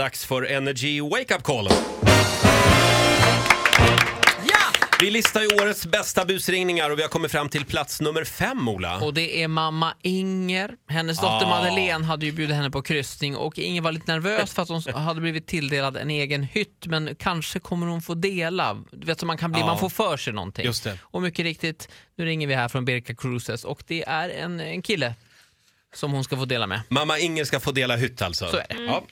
Dags för Energy Wake Up Call. Vi listar ju årets bästa busringningar och vi har kommit fram till plats nummer fem, Ola. Och det är mamma Inger. Hennes dotter Madeleine hade ju bjudit henne på kryssning och Inger var lite nervös för att hon s- hade blivit tilldelad en egen hytt men kanske kommer hon få dela. Du vet som man kan bli, Ja. man får för sig någonting. Just det. Och mycket riktigt, nu ringer vi här från Birka Cruises och det är en, en kille som hon ska få dela med. Mamma Inger ska få dela hytt alltså. Så är det. Ja.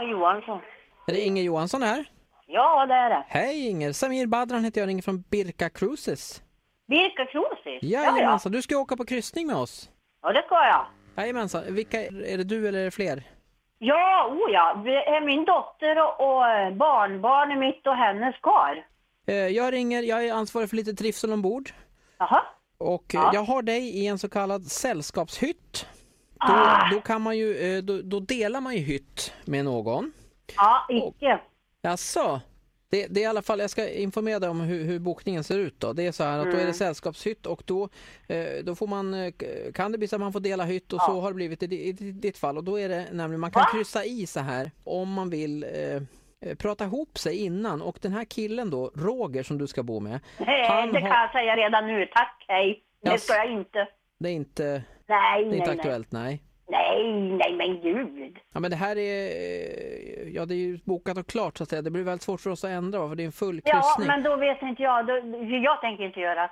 Och Johansson. Är det Inger Johansson här? Ja, det är det. Hej Inger, Samir Badran heter jag ringer från Birka Cruises. Birka Krosis. ja. du ska åka på kryssning med oss. Ja, det ska jag. Jajamensan, vilka, är det du eller är det fler? Ja, oh ja. Det är min dotter och, och barnbarn är mitt och hennes kar. Eh, Jag ringer, jag är ansvarig för lite trivsel ombord. Jaha. Och eh, Ja. jag har dig i en så kallad sällskapshytt. Då, då, kan man ju, eh, då, då delar man ju hytt med någon. Ja, icke. Jaså? Det, det är i alla fall, jag ska informera dig om hur, hur bokningen ser ut. Då. Det är så här att då är det sällskapshytt och då, eh, då får man, eh, k- kan det bli så att man får dela hytt och så har det blivit i, di- i di- ditt fall. Och då är det nämligen, man kan kryssa i så här om man vill eh, eh, prata ihop sig innan. Och den här killen då, Roger som du ska bo med, Nej, det har- kan jag säga redan nu. Tack, hej. Det Jaså. ska jag inte. det är inte, Nej, det är nej, inte nej. aktuellt, nej. Nej, nej, men gud. Ja men det här är, eh, ja det är ju bokat och klart så att säga. Det blir väldigt svårt för oss att ändra va, för det är en full Ja, kryssning. men då vet inte jag. Då, jag tänker inte göra det.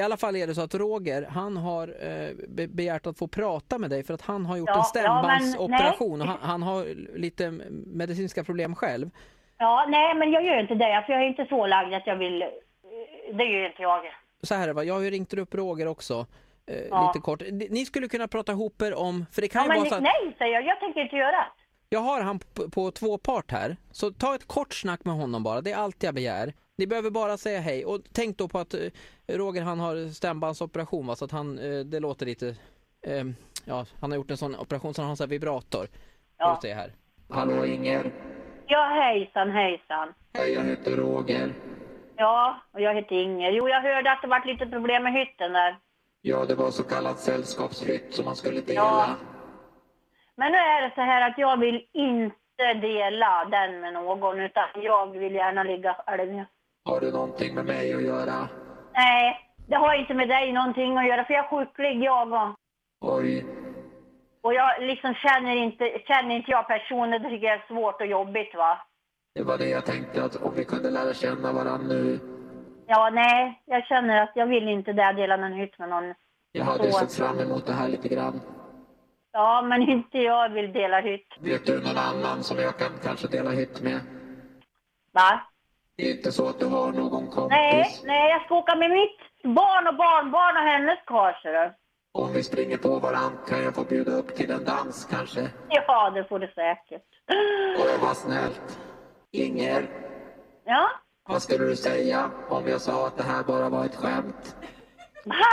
I alla fall är det så att Roger, han har eh, be- begärt att få prata med dig för att han har gjort Ja, en ja, men stämbandsoperation och nej. han, han har lite medicinska problem själv. Ja, nej, men jag gör inte det. För jag är inte så lagd att jag vill... Det gör inte jag. Så här är det, va, jag har ju ringt upp Roger också. Eh, Ja. Lite kort. Ni- Ni skulle kunna prata ihop er om, för det kan Ja, ju men vara så att nej, säger jag. Jag tänker inte göra det. jag har han på, på två part här. Så ta ett kort snack med honom bara, det är allt jag begär. Ni behöver bara säga hej och tänk då på att eh, Roger han har stämbandsoperation va, så att han, eh, det låter lite, eh, ja han har gjort en sån operation så han har så här vibrator. Ska vi se här. Hallå Inger, Ja, hejsan, hejsan. hej jag heter Roger. Ja, och jag heter Inger. Jo, jag hörde att det varit lite problem med hytten där. Ja, det var så kallat sällskapshytt som man skulle dela. Ja. Men nu är det så här att jag vill inte dela den med någon, utan jag vill gärna ligga själv. Har du någonting med mig att göra? Nej, det har inte med dig någonting att göra, för jag är sjuklig jag och. Oj, Och jag liksom känner inte, känner inte jag personer, det tycker jag är svårt och jobbigt va. det var det jag tänkte att om vi kunde lära känna varandra nu. Ja, nej, jag känner att jag vill inte det, dela någon hytt med någon. Jag hade Så. sett fram emot det här lite grann. Ja, men inte jag vill dela hytt. Vet du någon annan som jag kan kanske dela hytt med? Va? Det är inte så att du har någon kompis? Nej, nej, jag ska åka med mitt barn och barnbarn och hennes karl, ser du. Om vi springer på varandra kan jag få bjuda upp till en dans kanske? Ja, det får du säkert. Åh, vad snällt. Inger, Ja. vad skulle du säga om jag sa att det här bara var ett skämt? Va?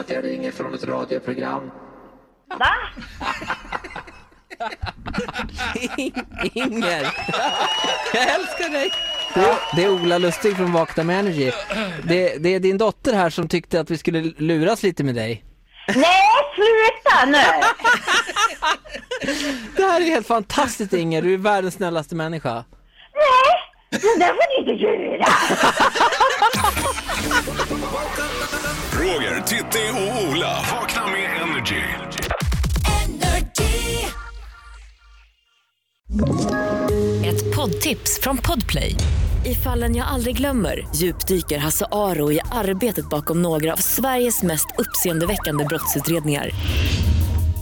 Att jag ringer från ett radioprogram. Va? Inger! Jag älskar dig! Det, det är Ola Lustig från Vakna med Energy. Det, det är din dotter här som tyckte att vi skulle luras lite med dig. Nej, sluta nu! Det här är helt fantastiskt Inger, du är världens snällaste människa. Nej, det där får ni inte göra. Roger, Titti och Ola. Vakna med Energy. Ett poddtips från Podplay. I fallen jag aldrig glömmer djupdyker Hasse Aro i arbetet bakom några av Sveriges mest uppseendeväckande brottsutredningar.